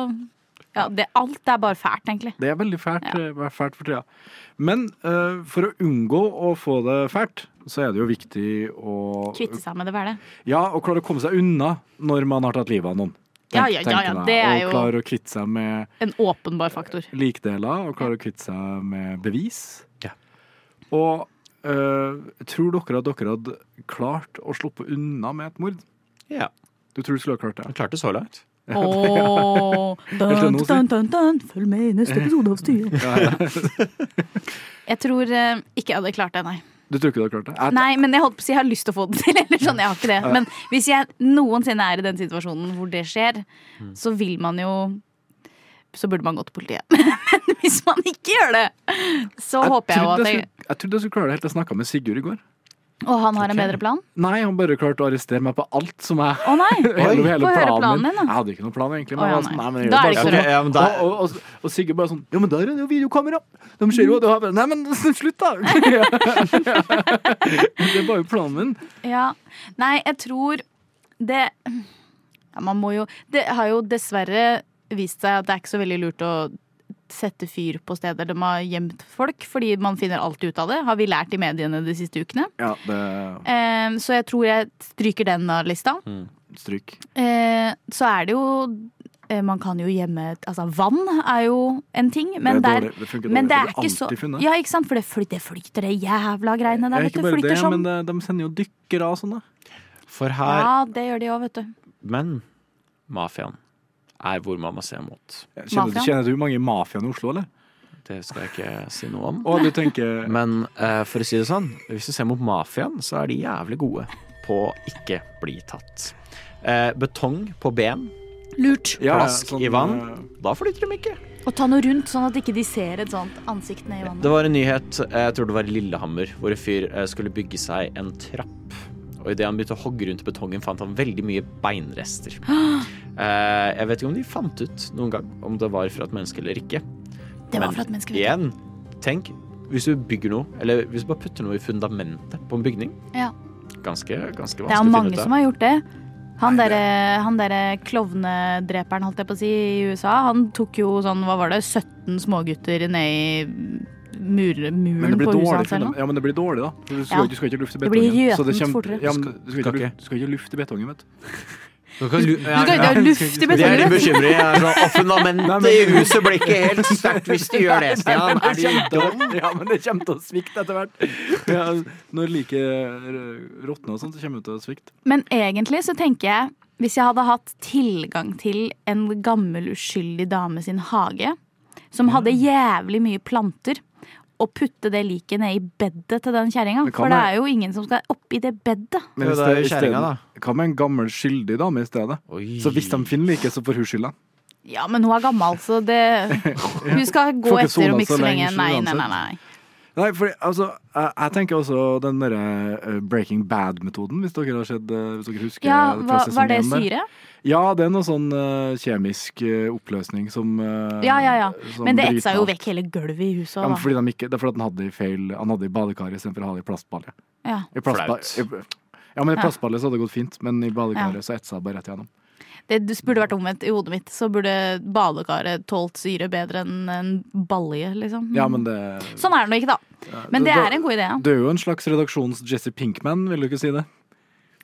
S7: ja, det, Alt er bare fælt, egentlig.
S3: Det er veldig fælt, eh, fælt for tida. Men eh, for å unngå å få det fælt, så er det jo viktig å
S7: Kvitte seg med det, hva er det?
S3: Ja, å klare å komme seg unna når man har tatt livet av noen.
S7: Ja, ja, ja, ja,
S3: tenker jeg.
S7: det er
S3: Og
S7: jo-
S3: klare å kvitte seg med
S7: En åpenbar faktor.
S3: likdeler, og klare å kvitte seg med bevis.
S6: Ja.
S3: Og øh, tror dere at dere hadde klart å sluppe unna med et mord?
S6: Ja,
S3: Du tror du skulle ha klart det?
S6: Han klarte så langt.
S7: Ååå.
S3: Hørte du
S7: Dun,
S3: noe si?
S7: dun, dun, dun. Følg med i neste episode av Styret. Jeg tror eh, ikke jeg hadde klart det, nei.
S3: Du tror ikke du hadde klart det? Jeg-
S7: Nei, men jeg holdt på å si jeg har lyst til å få det til. Eller sånn, jeg har ikke det. Men hvis jeg noensinne er i den situasjonen hvor det skjer,
S3: Mm.
S7: så vil man jo Så burde man gå til politiet. Men hvis man ikke gjør det, så håper jeg jo
S3: trodde
S7: at
S3: jeg,
S7: jeg
S3: skulle, jeg trodde jeg skulle klare det helt til jeg snakka med Sigurd i går.
S7: Og han har en
S6: Ok.
S7: bedre plan?
S3: Nei, han bare klarte å arrestere meg på alt som jeg
S7: Å nei!
S3: Hele,
S6: Oi.
S3: hele
S7: Få høre planen
S3: planen min.
S7: din, da.
S3: Jeg hadde ikke noen plan, egentlig. Men
S7: Å, ja,
S3: jeg var sånn,
S7: nei.
S3: nei, men jeg
S7: Da
S3: gjør
S7: er det
S3: bare
S7: ikke så
S3: sånn.
S6: rart. Ok, ja, men da-
S3: og, og, og, og Sigurd bare sånn Ja, men der er det jo videokamera! De ser jo at du har Nei, men slutt, da! det var jo planen min.
S7: Ja. Nei, jeg tror det ja, Man må jo Det har jo dessverre vist seg at det er ikke så veldig lurt å sette fyr på steder de har gjemt folk, fordi man finner alltid ut av det, har vi lært i mediene de siste ukene.
S3: Ja, det
S7: Eh, så jeg tror jeg stryker den av lista.
S3: Stryk.
S7: Eh, så er det jo eh, Man kan jo gjemme Altså, vann er jo en ting,
S3: det,
S7: men det
S3: er
S7: er,
S3: dårlig. det funker
S7: men det er
S3: dårlig.
S7: ikke så
S3: alltid funnet.
S7: Ja, ikke sant? For det, fly, det flyter, det jævla greiene
S3: Ja,
S7: der.
S3: ikke
S7: Vet du,
S3: bare
S7: flyter
S3: det,
S7: som
S3: men de, de sender jo dykkere og sånn, da.
S6: For her
S7: Ja, det gjør de òg, vet du.
S6: Men mafiaen er hvor man må se mot.
S3: Kjenner, du-
S7: Mafiaen?
S3: kjenner du hvor mange i mafiaen i Oslo, eller?
S6: Det skal jeg ikke si noe om.
S3: Og du tenker
S6: Men eh, for å si det sånn, hvis du ser mot mafiaen, så er de jævlig gode på å ikke bli tatt. Eh, betong på ben,
S7: Lurt.
S3: ja,
S6: plask i vann.
S3: eh,
S6: Da flytter de ikke.
S7: Og ta noe rundt, sånn at ikke de ser et sånt ansikt ned i vannet.
S6: Det var en nyhet, eh, jeg tror det var i Lillehammer, hvor en fyr eh, skulle bygge seg en trapp. Og idet han begynte å hogge rundt i betongen, fant han veldig mye beinrester.
S7: Ah!
S6: Eh, Jeg vet ikke om de fant ut noen gang om det var fra et menneske eller ikke.
S7: Det var
S6: Men
S7: for at mennesker vet
S6: Igjen, tenk hvis du bygger noe, eller hvis du bare putter noe i fundamentet på en bygning.
S7: Ja.
S6: Ganske, ganske
S7: Det er
S6: vanskelig å
S7: mange
S6: finne ut
S7: som
S6: av.
S7: har gjort det. Han derre han derre klovnedreperen, holdt jeg på å si, i USA, han tok jo sånn, hva var det, 17 smågutter ned i mur,
S3: Men
S7: muren
S3: det blir
S7: på huset
S3: dårlig,
S7: hans eller noe.
S3: ja, men det blir dårlig da. Du skal,
S7: Ja.
S3: du skal ikke lufte
S7: Det blir
S3: betongen. så
S7: røtent
S3: kommer-
S7: fortere.
S3: ja, men du skal,
S6: Skal
S3: ikke,
S6: ikke.
S3: du skal ikke lufte betongen, vet du.
S10: Du kan lu-
S7: Du kan ikke ha luft i
S6: Det er litt
S7: betongen!
S6: bekymring. Jeg er sånn, «Å, Fundamentet i huset blir ikke helt sterkt hvis du gjør det, Stian. Er du dum?
S3: Ja, men det kommer til å svikte etter hvert. Ja, når like råtner og sånt, så kommer det til å svikte.
S7: Men egentlig så tenker jeg, hvis jeg hadde hatt tilgang til en gammel uskyldig dame sin hage, som hadde jævlig mye planter, og putte det liket ned i bedet til den kjerringa.
S3: Det kan
S7: For det
S3: være-
S7: er jo ingen som skal oppi det bedet.
S3: Men
S6: Ja,
S3: hvis
S6: det er
S3: det-
S6: jo
S3: i stedet-
S6: kjerringa, da.
S3: Hva med en gammel skyldig dame i stedet?
S6: Oi.
S3: Så hvis de finner like, så får hun skylda.
S7: Ja, men hun er gammel, så det Hun skal gå
S3: Får ikke
S7: etter om
S3: sona
S7: ikke
S3: så
S7: så
S3: lenge,
S7: lenge. Nei,
S3: uansett.
S7: nei, nei. nei.
S3: Nei, fordi, altså, jeg, jeg tenker også den derre eh, Breaking Bad-metoden, hvis dere har sett, eh, hvis dere husker
S7: Ja,
S3: fra
S7: hva,
S3: sesong
S7: Var det
S3: én der.
S7: syre?
S3: Ja, det er noe sånn eh, kjemisk eh, oppløsning som eh,
S7: Ja, ja, ja.
S3: som
S7: Men det
S3: bryter
S7: etsa jo
S3: alt.
S7: vekk hele gulvet i huset.
S3: Ja, men
S7: Da.
S3: fordi de ikke, det er fordi at den hadde i feil Han hadde i badekaret istedenfor å ha det i plastballet.
S7: Ja.
S3: I plastba- i, ja, men i
S7: Ja.
S3: plastballet så hadde det gått fint, men i badekaret så etsa det bare rett igjennom.
S7: Det du- burde vært omvendt i hodet mitt. Så burde badekaret tålt syre bedre enn en balje, liksom.
S3: Ja, men det
S7: Sånn er det nå ikke, da. Men det er en god idé.
S3: Du er jo en slags redaksjons Jesse Pinkman, vil du ikke si det?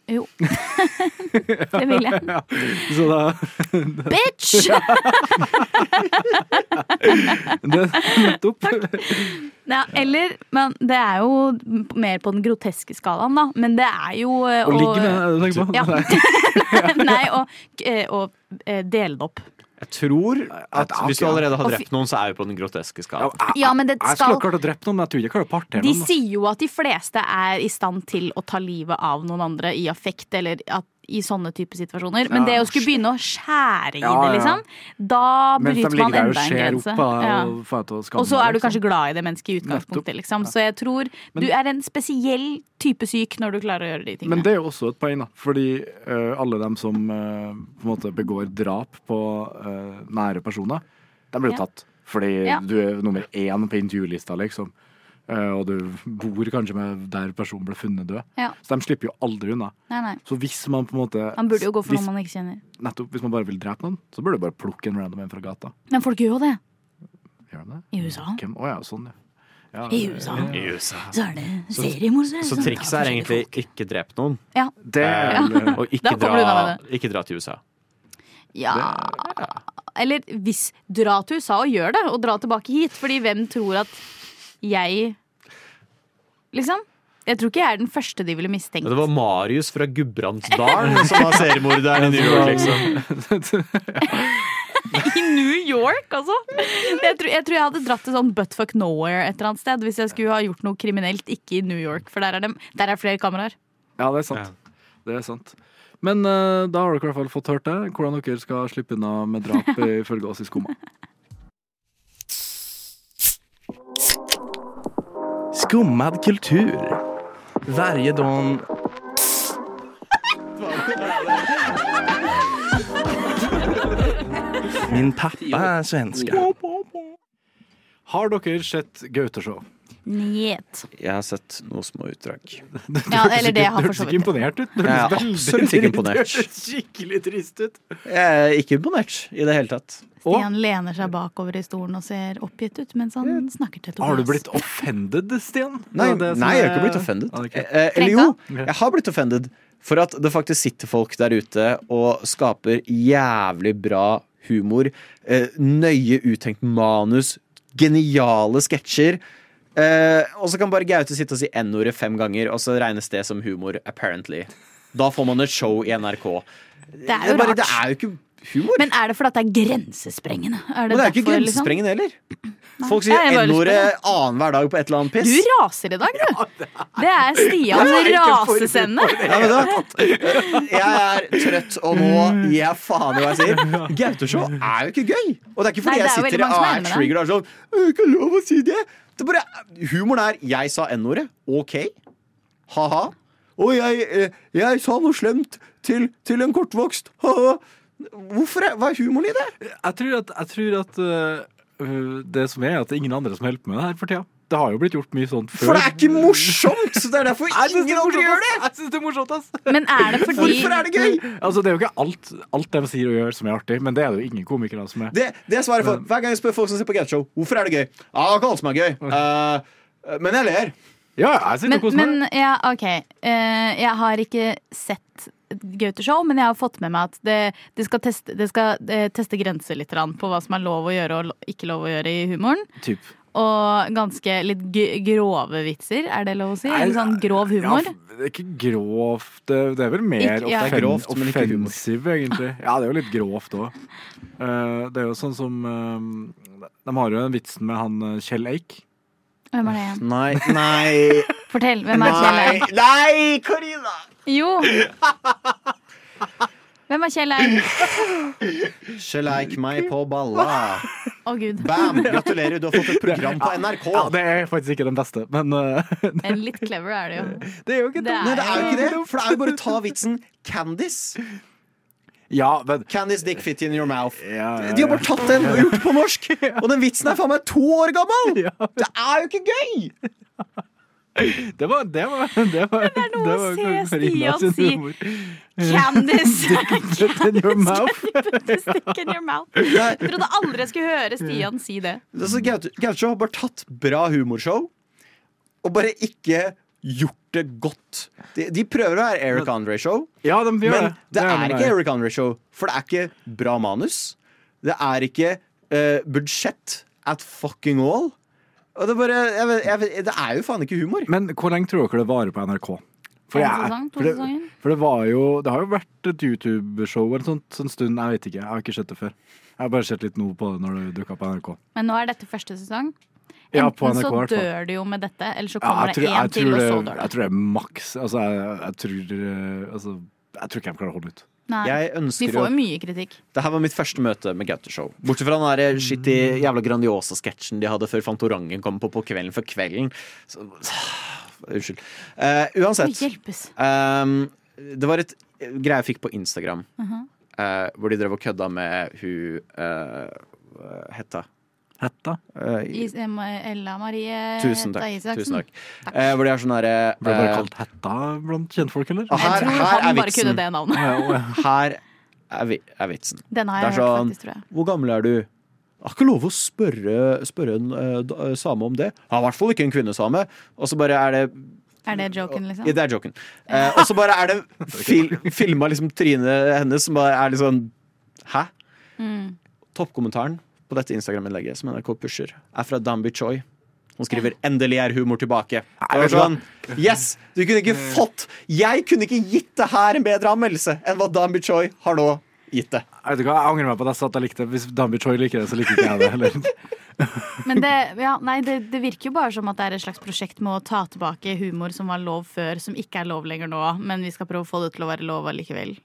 S7: Jo. det vil jeg.
S3: Så da
S7: Bitch!
S3: det, Nettopp.
S7: Ja, eller Men det er jo mer på den groteske skalaen, da. Men det er jo eh,
S3: Å ligge med, er det du tenker på?
S7: Ja.
S3: Nei.
S7: Nei, og, eh, og eh, dele det opp.
S6: Jeg tror at
S3: det er
S6: hvis du
S3: ikke-
S6: allerede har
S7: Og
S6: drept noen, så er vi på den groteske
S3: Ja,
S6: skalaen.
S3: jeg,
S7: Ja, men det
S3: jeg skulle
S7: skal
S3: ha klart å drepe noen, men jeg tror ikke jeg klarer å partere
S7: De
S3: noen. da.
S7: sier jo at de fleste er i stand til å ta livet av noen andre i affekt eller at, i sånne type situasjoner. Men det å skulle begynne å skjære i
S3: Ja,
S7: det,
S3: ja.
S7: liksom, da
S3: Mens de
S7: bryter
S3: ligger
S7: man
S3: der og
S7: enda en
S3: ser
S7: grense.
S3: opp av-
S7: Ja.
S3: og får jeg til å skamme
S7: Og så
S3: meg,
S7: er du
S3: liksom.
S7: kanskje glad i det mennesket i utgangspunktet, liksom. Så jeg tror du er en spesiell type syk når du klarer å gjøre de
S3: Men
S7: tingene.
S3: det er jo også et poeng, da. Fordi eh, alle dem som eh, på en måte begår drap på eh, nære personer, de blir jo
S7: Ja.
S3: tatt. Fordi
S7: Ja.
S3: du er nummer én på intervjulista, liksom. Eh, og du bor kanskje med der personen ble funnet død.
S7: Ja.
S3: Så de slipper jo aldri unna.
S7: Nei, nei.
S3: Så hvis man på en måte
S7: Han burde jo gå for
S3: hvis,
S7: noe man ikke kjenner.
S3: Nettopp, hvis man bare vil drepe noen, så burde du bare plukke en random en fra gata.
S7: Men folk gjør jo det.
S3: Gjør de det?
S7: I USA.
S3: Hvem? Å ja, sånn, ja. ja.
S7: I USA
S6: I USA.
S7: så er det
S6: Så
S7: seriemordere. som tar
S6: trikset er
S7: forskjellige
S6: egentlig
S7: folk.
S6: ikke drep noen,
S7: Ja.
S3: Det er
S6: Ja.
S3: vel, eh,
S6: og
S7: Da
S6: ikke
S7: kommer du
S6: dra,
S7: unna med
S6: ikke dra til USA.
S7: Ja Eller hvis dra til USA og gjør det, og dra tilbake hit. Fordi hvem tror at jeg Liksom? Jeg tror ikke jeg er den første de ville mistenkt.
S6: Ja, Det var Marius fra Gudbrandsdalen som var seriemorderen i New York, liksom.
S7: I New York, altså! Jeg tror, jeg tror jeg hadde dratt til sånn buttfuck nowhere et eller annet sted hvis jeg skulle ha gjort noe kriminelt. Ikke i New York, for der er, dem- der er flere kameraer.
S3: Ja, det er sant. Det er sant. Men eh, da har dere i hvert fall fått hørt det, hvordan dere skal slippe unna med drap eh, ifølge oss i Skumma.
S1: Skummad kultur. Varje dag... Min pappa är svenska.
S3: Har dere sett Gauteshow?
S7: Njet.
S6: Jeg har sett noe små utdrag.
S7: Ja, eller det har
S3: Du
S7: for
S3: hørtes
S7: så
S3: ikke
S7: vidt.
S3: imponert ut. Du
S6: Jeg er
S3: hørtes veldig
S6: absolutt ikke
S3: trist-
S6: imponert.
S3: Du hørtes skikkelig trist ut.
S6: Jeg er ikke imponert i det hele tatt.
S7: Stian lener seg bakover i stolen og ser oppgitt ut mens han snakker til Tobias.
S3: Har du blitt offended, Stian?
S6: Nei,
S3: Det er det som
S6: nei jeg har ikke
S3: er-
S6: blitt offended.
S3: Ja, det er kult.
S6: Eh, eller jo,
S7: Krenka?
S6: jeg har blitt offended for at det faktisk sitter folk der ute og skaper jævlig bra humor. Eh, nøye uttenkt manus, geniale sketsjer. Eh, og så kan bare Gaute sitte og si N-ordet fem ganger, og så regnes det som humor, apparently. Da får man et show i NRK.
S7: Det er jo
S6: bare, det
S7: rart.
S6: er jo ikke humor.
S7: Men er det fordi at det er grensesprengende? Er
S6: Men det er jo ikke
S7: derfor, liksom?
S6: grensesprengen heller. Folk
S7: Jeg
S6: sier
S7: er bare
S6: N-ordet annenhver dag på et eller annet
S7: Du
S6: piss.
S7: raser i dag, du. Det er Stians
S6: Jeg er ikke forberedt
S7: rasesende.
S6: Ja, men da, jeg er trøtt, og nå gir jeg faen i hva jeg sier. Gauteshow er jo ikke gøy. Og det er ikke fordi
S7: Nei, det er
S6: jeg
S7: jo
S6: sitter
S7: veldig
S6: og
S7: mange som er
S6: er
S7: med
S6: trigger og er sånn «Jeg har Ikke lov å si det. det er bare, humoren er 'jeg sa n-ordet'. OK. Ha-ha. Og jeg, eh, jeg sa noe slemt til, til en kortvokst. Ha-ha. Hvorfor er, hva er humoren i det?
S3: Jeg tror at, jeg tror at øh, det som er, at det er ingen andre som hjelper med det her for tida. Det har jo blitt gjort mye sånt før.
S6: For det er ikke morsomt! Så det er derfor ingen andre gjør det!
S3: Jeg syns det er morsomt, ass!
S7: Men er det fordi
S6: Hvorfor er det gøy?
S3: Altså, det er jo ikke alt, alt de sier og gjør som er artig, men det er det jo ingen komikere som er.
S6: Det, det er svaret for Hver gang jeg spør folk som ser på gateshow, hvorfor er det gøy? Ja, det er ikke alt som er gøy. Eh, men jeg ler.
S3: Ja, jeg sitter
S7: Men,
S3: og koser meg.
S7: men ja, OK. Eh, jeg har ikke sett Gaute-show, men jeg har fått med meg at det, det skal, teste, det skal eh, teste grenser litt grann på hva som er lov å gjøre og lo- ikke lov å gjøre i humoren.
S3: Typ.
S7: Og ganske litt g grove vitser, er det lov å si?
S3: Nei,
S7: en sånn grov humor.
S3: Ja, f- det er ikke grovt. Det, det er vel mer
S7: Ikke- ja.
S3: offen-
S7: Det er
S6: grovt, men ikke humor.
S3: offensiv, egentlig. Ja, det er jo litt grovt òg. det er jo sånn som eh, De har jo den vitsen med han eh, Kjell Eik.
S7: Hvem er det igjen?
S6: Nei, nei,
S7: Fortell. Hvem er Kjell
S6: nei,
S7: Eik?
S6: nei, Karina!
S7: Jo! Hvem er Kjell Eik?
S6: Skjeleik meg på balla.
S7: Å, gud.
S6: Bam! Gratulerer, du har fått et program på NRK.
S3: Ja, det er faktisk ikke den beste, men eh,
S7: En Litt clever er det jo.
S3: det er jo ikke
S7: Det
S3: den.
S6: Nei, det er jo ikke det,
S3: jo
S6: for det er jo bare å ta vitsen Candice.
S3: Ja, men
S6: Candice dick fit in your mouth.
S3: ja, ja,
S6: De har bare tatt den og gjort på norsk, og den vitsen er faen meg to år gammel! Det er jo ikke gøy!
S3: Det var Det var Det, var, det
S7: noe
S3: det
S7: å
S3: var
S7: se
S3: Karina
S7: Stian
S3: sin
S7: si.
S3: humor.
S7: Candice!
S3: Put in your mouth.
S7: Stick in your mouth. Jeg trodde aldri jeg skulle høre Stian si det.
S6: Altså, Gaute Gaute har bare tatt bra humorshow og bare ikke gjort det godt. De, de prøver å være Eric Andre-show,
S3: Ja, de gjør
S6: men det
S3: gjør
S6: er
S3: de.
S6: ikke Eric Andre-show. For det er ikke bra manus. Det er ikke eh, budsjett at fucking all. Og det, er bare, jeg vet, jeg vet, det er jo faen ikke humor.
S3: Men hvor lenge tror dere det varer på NRK? For,
S7: En
S3: jeg-
S7: sesong, to
S3: for, det,
S7: sesonger?
S3: for det var jo Det har jo vært et YouTube-show eller sånt en stund. Jeg vet ikke. Jeg har ikke sett det før. Jeg har bare sett litt nå på det når det dukka på NRK.
S7: Men nå er dette første sesong.
S3: Ja, på NRK i
S7: Enten så
S3: hvert fall.
S7: dør du jo med dette, eller så
S3: Ja,
S7: kommer
S3: jeg, tror,
S7: det én
S3: jeg,
S7: til,
S3: tror
S7: og
S3: det,
S7: så dør
S3: jeg
S7: du.
S3: tror det er maks. Altså, jeg, jeg tror eh, Altså, jeg tror ikke de klarer å holde ut.
S7: Nei.
S6: Jeg
S7: Vi
S6: ønsker
S7: får
S6: jo
S7: jo mye kritikk.
S6: Det her var mitt første møte med Gaute Show. Bortsett fra den der eh, shitty jævla Grandiosa-sketsjen de hadde før Fantorangen kom på på Kvelden før kvelden. Så, unnskyld. Eh,
S7: Å,
S6: uansett.
S7: hjelpes.
S6: Um, det var et eh, greie jeg fikk på Instagram,
S7: Mhm.
S6: eh, hvor de drev og kødda med hun eh, hva Hetta.
S3: Hetta?
S6: Eh, i-
S7: Is Ella Marie
S6: tusen takk.
S7: Hetta Isaksen.
S6: Tusen takk. Eh, hvor de er sånn herre
S3: Ble det bare kalt Hetta blant kjentfolk, eller?
S6: Ah.
S7: Jeg
S6: Her-
S7: tror
S6: her er
S7: han bare
S6: vitsen.
S7: kunne det navnet.
S6: Her er, vi, er vitsen.
S7: Den har
S6: Det
S7: jeg
S6: er
S7: hørt,
S6: sånn-
S7: faktisk, tror jeg.
S6: Hvor gammel er du? Jeg har ikke lov å spørre, spørre en eh, da- eh, same om det. Han er i hvert fall ikke en kvinnesame. Og så bare er det
S7: Er det joken, liksom?
S6: Ja, det er joken. Eh, og så bare er det fil, filma liksom trynet hennes som bare er litt sånn Hæ?
S7: Mm.
S6: Toppkommentaren på dette Instagram-innlegget som NRK pusher, er fra Dambi Choi. Hun skriver 'Endelig er humor tilbake'. Det var sånn, yes, du kunne ikke fått Jeg kunne ikke gitt det her en bedre anmeldelse enn hva Dambi Choi har nå gitt det.
S3: Jeg vet ikke, jeg angrer meg på at jeg sa at jeg likte det. Hvis Dambi Choi liker det, så liker ikke jeg det heller.
S7: Men det, ja, nei, det, det virker jo bare som at det er et slags prosjekt med å ta tilbake humor som var lov før, som ikke er lov lenger nå. Men vi skal prøve å få det til å være lov allikevel.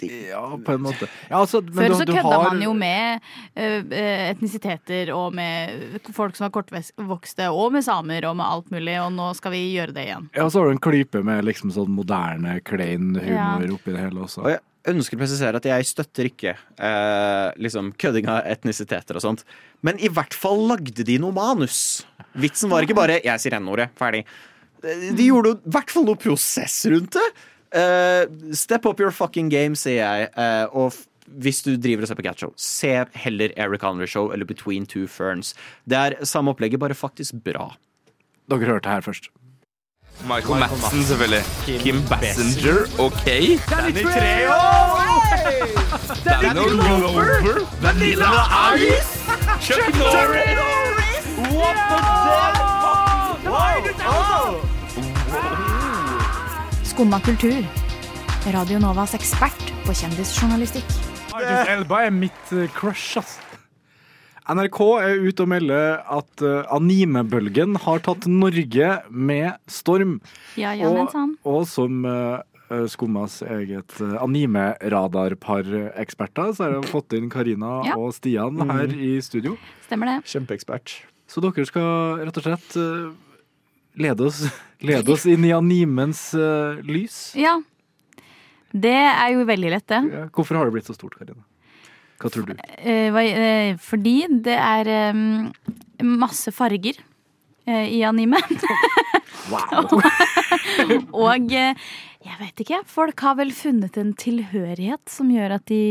S3: Ja, på en måte. Ja, altså, men
S7: Før
S3: du-
S7: så
S3: du
S7: kødda
S3: har-
S7: man jo med eh, eh, etnisiteter og med folk som var kortvokste, og med samer og med alt mulig, og nå skal vi gjøre det igjen.
S3: Ja, så har du en klype med liksom sånn moderne, klein humor
S7: Ja.
S3: oppi det hele også.
S6: Og jeg ønsker å presisere at jeg støtter ikke eh, liksom kødding av etnisiteter og sånt. Men i hvert fall lagde de noe manus. Vitsen var ikke bare 'jeg sier n-ordet', ferdig. Eh, De gjorde jo i hvert fall noe prosess rundt det. Eh, step up your fucking game, sier jeg. Eh, og f- hvis du driver og ser på Gatshow, se heller Eric Andre Show eller Between Two Ferns. Det er samme opplegget, bare faktisk bra.
S3: Dere hørte det her først.
S1: Michael Madsen, selvfølgelig. Kim Bassinger, OK. Danny Treo! Daniel Glover. Vanilla Ice. Chuck Norris. What the
S4: Skumma kultur. Radio Novas ekspert på kjendisjournalistikk.
S3: Marcus Elba er mitt eh, crush, ass. NRK er ute og melder at eh, animebølgen har tatt Norge med storm.
S7: Ja, ja, men sånn. sann.
S3: og som uh, Skummas eget eh, anime-radarpar-eksperter, så har jeg fått inn Karina
S7: Ja.
S3: og Stian her i studio.
S7: Stemmer det.
S6: Kjempeekspert.
S3: Så dere skal rett og slett eh, lede oss, lede oss inn i animens eh, lys.
S7: Ja. Det er jo veldig lett, det.
S3: Ja, Hvorfor har det blitt så stort, Karina? Hva tror du?
S7: Eh, hva- eh, fordi det er eh, masse farger eh, i anime. Og eh, jeg vet ikke. Folk har vel funnet en tilhørighet som gjør at de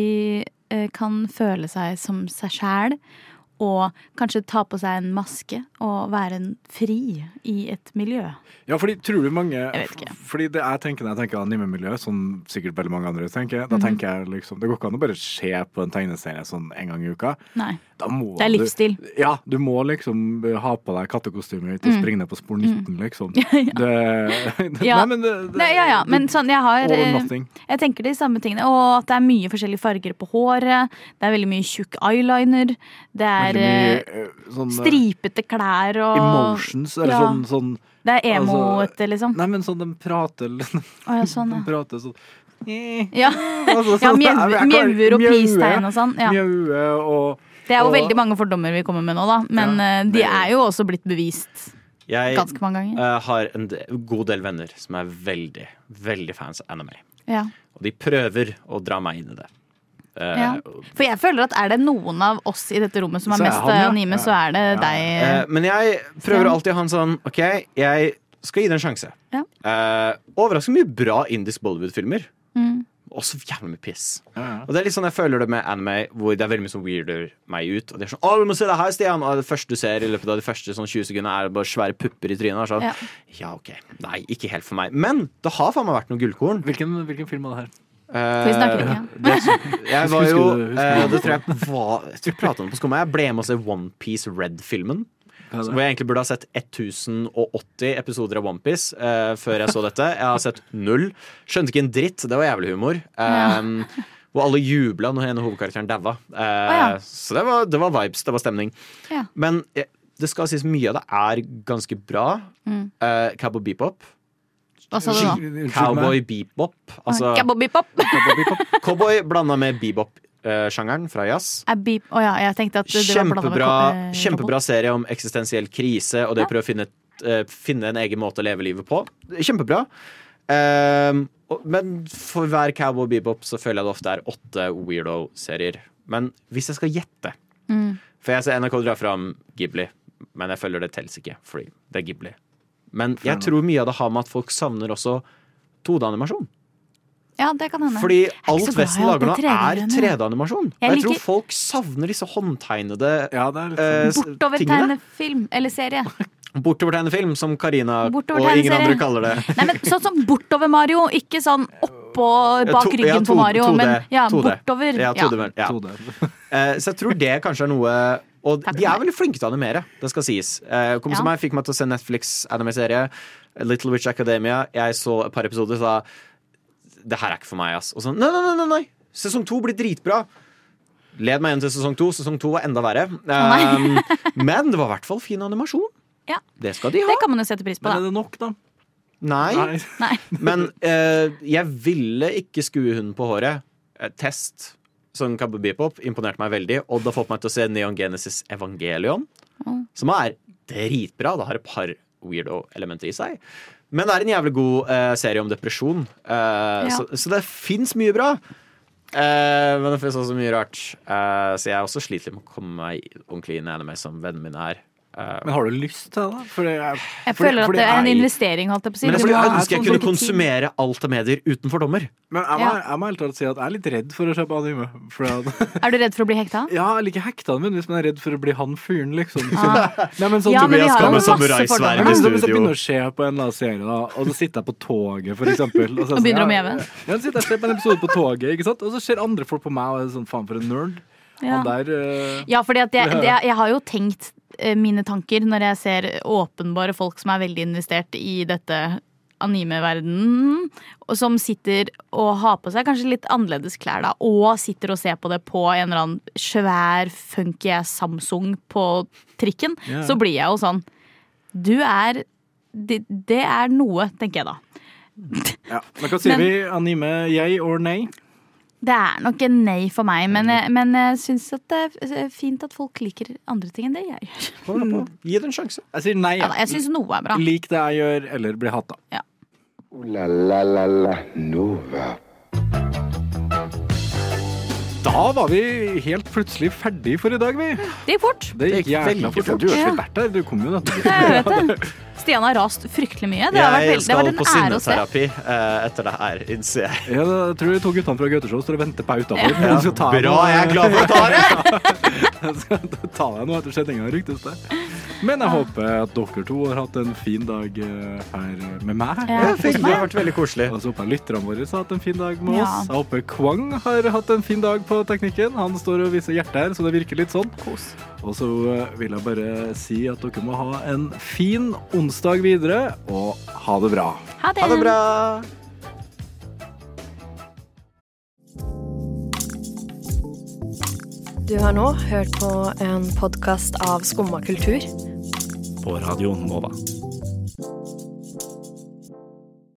S7: eh, kan føle seg som seg sjæl. Og kanskje ta på seg en maske og være en fri i et miljø.
S3: Ja, fordi tror du mange
S7: Jeg vet ikke.
S3: f- Fordi det jeg tenker når jeg tenker anime-miljø, som sikkert veldig mange andre tenker, da
S7: Mhm.
S3: tenker jeg liksom Det går ikke an å bare se på en tegneserie sånn en gang i uka.
S7: Nei.
S3: Da må
S7: Det er livsstil.
S3: Du, ja, du må liksom ha på deg kattekostyme ut og
S7: Mm.
S3: springe ned på spor 19, liksom. Det, det,
S7: Ja.
S3: Nei, men det, det
S7: Nei, ja, ja, men sånn, jeg har
S3: All or
S7: eh,
S3: nothing.
S7: Jeg tenker de samme tingene. Og at det er mye forskjellige farger på håret. Det er veldig mye tjukk eyeliner. Det er
S3: Veldig mye
S7: eh,
S3: eh, sånn eh,
S7: stripete klær og
S3: Emotions, eller
S7: Ja.
S3: sånn, sånn
S7: Det er emoete,
S3: altså,
S7: liksom.
S3: Nei, men sånn de prater
S7: Å ja, sånn,
S3: De
S7: ja.
S3: prater sånn
S7: Ja,
S3: Altså,
S7: ja
S3: sånn,
S7: mjau-
S3: jeg- jeg klarer-
S7: mjauer og
S3: mjaue,
S7: peace-tegn og sånn. Ja.
S3: Mjaue og
S7: Det er jo
S3: og-
S7: veldig mange fordommer vi kommer med nå, da. Men eh, de
S6: det-
S7: er jo også blitt bevist
S6: Jeg
S7: ganske mange ganger.
S6: eh, har en de- god del venner som er veldig, veldig fans av anime.
S7: Ja.
S6: Og de prøver å dra meg inn i det. Eh,
S7: Ja. For jeg føler at er det noen av oss i dette rommet som
S3: Så
S7: er
S3: er
S7: mest
S3: han, ja.
S7: anime, så er det
S6: Eh,
S7: deg.
S6: men jeg prøver alltid å ha en sånn OK, jeg skal gi det en sjanse.
S7: Ja.
S6: Eh, overraskende mye bra indisk Bollywood-filmer.
S7: Mm.
S6: Også jævlig mye piss.
S3: Ja, ja.
S6: Og det er litt sånn jeg føler det med anime, hvor det er veldig mye som weirder meg ut. Og det er sånn, å du må se det her, Stian Og det første du ser i løpet av de første sånn 20 sekundene, er bare svære pupper i trynet. og Sånn.
S7: Ja.
S6: Ja. ok. Nei, ikke helt for meg. Men det har faen meg vært noen gullkorn.
S3: Hvilken, hvilken film er det her?
S6: Eh,
S7: vi snakker ikke, ja.
S6: det som- Jeg var
S3: Husker
S6: jo
S3: du det? Husker
S6: eh, Det tror jeg var Jeg tror jeg pratet om det på skummet. Jeg ble med å se Onepiece Red-filmen.
S3: Hva er
S6: Hvor
S3: det?
S6: jeg egentlig burde ha sett 1080 episoder av Onepiece uh, før jeg så dette. Jeg har sett null. Skjønte ikke en dritt. Det var jævlig humor. Um, Hvor alle jubla når en av hovedkarakteren daua. Eh,
S7: ja.
S6: Så det var, det var vibes. Det var stemning.
S7: Ja.
S6: Men eh, det skal sies mye av det er ganske bra.
S7: Mm.
S6: Eh, Cowboy Bebop.
S7: Hva sa du nå?
S3: Unnskyld meg.
S6: Cowboy Bebop. Altså
S7: Kabobipop.
S6: cowboy blanda med bebop-sjangeren fra jazz.
S7: Er beep Eh, Å ja, jeg tenkte at det var blandet med
S6: Kjempebra,
S7: ko- eh,
S6: kjempebra serie om eksistensiell krise og det å prøve å finne, eh, finne en egen måte å leve livet på. Kjempebra. Ehm, og, men for hver cowboy bebop så føler jeg det ofte er åtte weirdo-serier. Men hvis jeg skal gjette
S7: Mm.
S6: For jeg ser NRK drar fram Ghibli, men jeg føler det telles ikke, fordi det er Ghibli. Men jeg tror mye av det har med at folk savner også 2D-animasjon.
S7: Ja, det kan hende.
S6: Fordi
S7: så
S6: alt
S7: glad i
S6: Vesten
S7: alt
S6: lager nå,
S7: det 3D
S6: er
S7: -greiene.
S6: 3D-animasjon. Og
S7: Jeg
S6: jeg tror
S7: liker-
S6: folk savner disse håndtegnede
S3: Ja, det er litt
S6: eh,
S3: sånn.
S6: s- tingene.
S7: Bortovertegne film eller serie.
S6: Bortovertegne film, som Karina og
S7: Bortovertegne
S6: ingen
S7: serie.
S6: andre kaller det.
S7: Nei, men Sånn som bortover Mario, ikke sånn oppå bak
S6: to- ja,
S7: ryggen
S6: to-
S7: på Mario,
S6: 2D,
S7: men ja,
S6: 2D.
S7: bortover.
S6: Ja,
S7: Ja.
S6: 2D, ja.
S3: 2D.
S6: Eh, Så jeg tror det kanskje er noe Og
S7: Takk
S6: de
S7: for
S6: er
S7: meg.
S6: veldig flinke til å animere, det skal sies. Eh, Kompisen
S7: Ja.
S6: som meg fikk meg til å se Netflix-anime-serie, Little Witch Academia. Jeg så et par episoder og sa det her er ikke for meg, ass. Og sånn nei, nei, nei, nei, nei. Sesong to blir dritbra. Led meg igjen til sesong to. Sesong to var enda verre.
S7: nei.
S6: Eh, men det var i hvert fall fin animasjon.
S7: Ja.
S6: Det skal de ha.
S7: Det kan man jo sette pris på,
S3: Men er
S7: da.
S3: det nok, da?
S6: Nei,
S3: Nei.
S7: Nei.
S6: men eh, jeg ville ikke skue hunden på håret. Eh, test som Kabbe Bebop imponerte meg veldig. Og det har fått meg til å se Neon Genesis Evangelion,
S7: Mm.
S6: som er dritbra. Det har et par weirdo-elementer i seg. Men det er en jævlig god eh, serie om depresjon. Eh, så, så det fins mye bra. Eh, men det fins også mye rart. Eh, så jeg er også sliter litt med å komme meg ordentlig inn i anime som vennene mine er. Eh,
S3: Men har du lyst til det? da? For det er,
S7: Jeg
S3: fordi-
S7: føler at
S3: fordi
S7: det er en
S3: jeg-
S7: investering, holdt jeg på å si.
S6: men jeg
S7: Du
S6: skulle
S7: må ha
S6: ønske jeg
S7: sånn
S6: kunne
S7: tid.
S6: konsumere alt av medier uten fordommer.
S3: Men jeg må,
S7: Ja.
S3: jeg må helt ærlig si at jeg er litt redd for å se på anime. For at,
S7: Er du redd for å bli hekta?
S3: ja, jeg liker hekta men hvis man er redd for å bli han fyren, liksom. Så,
S7: Ah.
S3: nei, men sånn,
S7: Ja, men vi har jo
S6: Tobias
S7: masse
S6: skal med samuraisverd
S3: men
S7: fordommer.
S6: i
S3: hvis
S7: da.
S3: jeg
S6: studio.
S3: begynner å se på en eller annen serie, da, og så sitter jeg på toget, for eksempel Og, så, sånn,
S7: Og begynner å
S3: ja,
S7: mjeve.
S3: Ja, så sitter jeg og ser på en episode på toget, ikke sant? og så ser andre folk på meg og er sånn faen for en nerd.
S7: Ja.
S3: Han der eh,
S7: Ja, fordi at jeg, det, jeg har jo tenkt eh, mine tanker når jeg ser åpenbare folk som er veldig investert i dette animeverdenen, og som sitter og har på seg kanskje litt annerledes klær da, og sitter og ser på det på en eller annen svær, funky Samsung på trikken,
S3: Ja.
S7: så blir jeg jo sånn Du er det, det er noe, tenker jeg da.
S3: Ja. Men hva sier
S7: Men-
S3: vi? Anime yay or nay?
S7: Det er nok en nei for meg, men, jeg- men jeg syns at det er eh, fint at folk liker andre ting enn det jeg gjør.
S3: Gi det en sjanse. Jeg sier nei.
S7: Mm. Ja, da, jeg syns noe er bra.
S3: Lik det jeg gjør, eller bli hata.
S2: Ooh la la la la Nova.
S3: Da var vi helt plutselig ferdig for i dag, vi.
S7: Det gikk fort.
S3: Det gikk jækla
S6: veldig
S3: fort.
S6: fort.
S3: Du har
S7: Ja.
S3: ikke vært der. Du kom jo nettopp.
S7: Ja, Jeg vet det. Stian har rast fryktelig mye. Det har vært,
S6: Jeg
S7: veldig, det
S6: skal
S7: har vært
S6: på
S7: en ære å se.
S6: sinneterapi eh, etter det her, innser jeg.
S3: Ja, da, jeg tror de to guttene fra Gauteshow står og venter på utafor.
S6: Ja, bra, jeg er glad for å ta det!
S3: skal ta deg noe etter sendinga, ryktes det. Men jeg håper at dere to har hatt en fin dag eh, her med meg.
S7: Ja, Ja,
S6: Det har vært veldig koselig.
S3: Og så håper jeg lytterne våre har hatt en fin dag med
S7: Ja.
S3: oss. Jeg håper Kwang har hatt en fin dag på teknikken. Han står og viser hjertet her, så det virker litt sånn. Og så eh, vil jeg bare si at dere må ha en fin onsdag videre, og ha det bra.
S6: Ha det bra!
S8: Du har nå hørt på en podkast av Skumma kultur.
S11: På Radio Nova.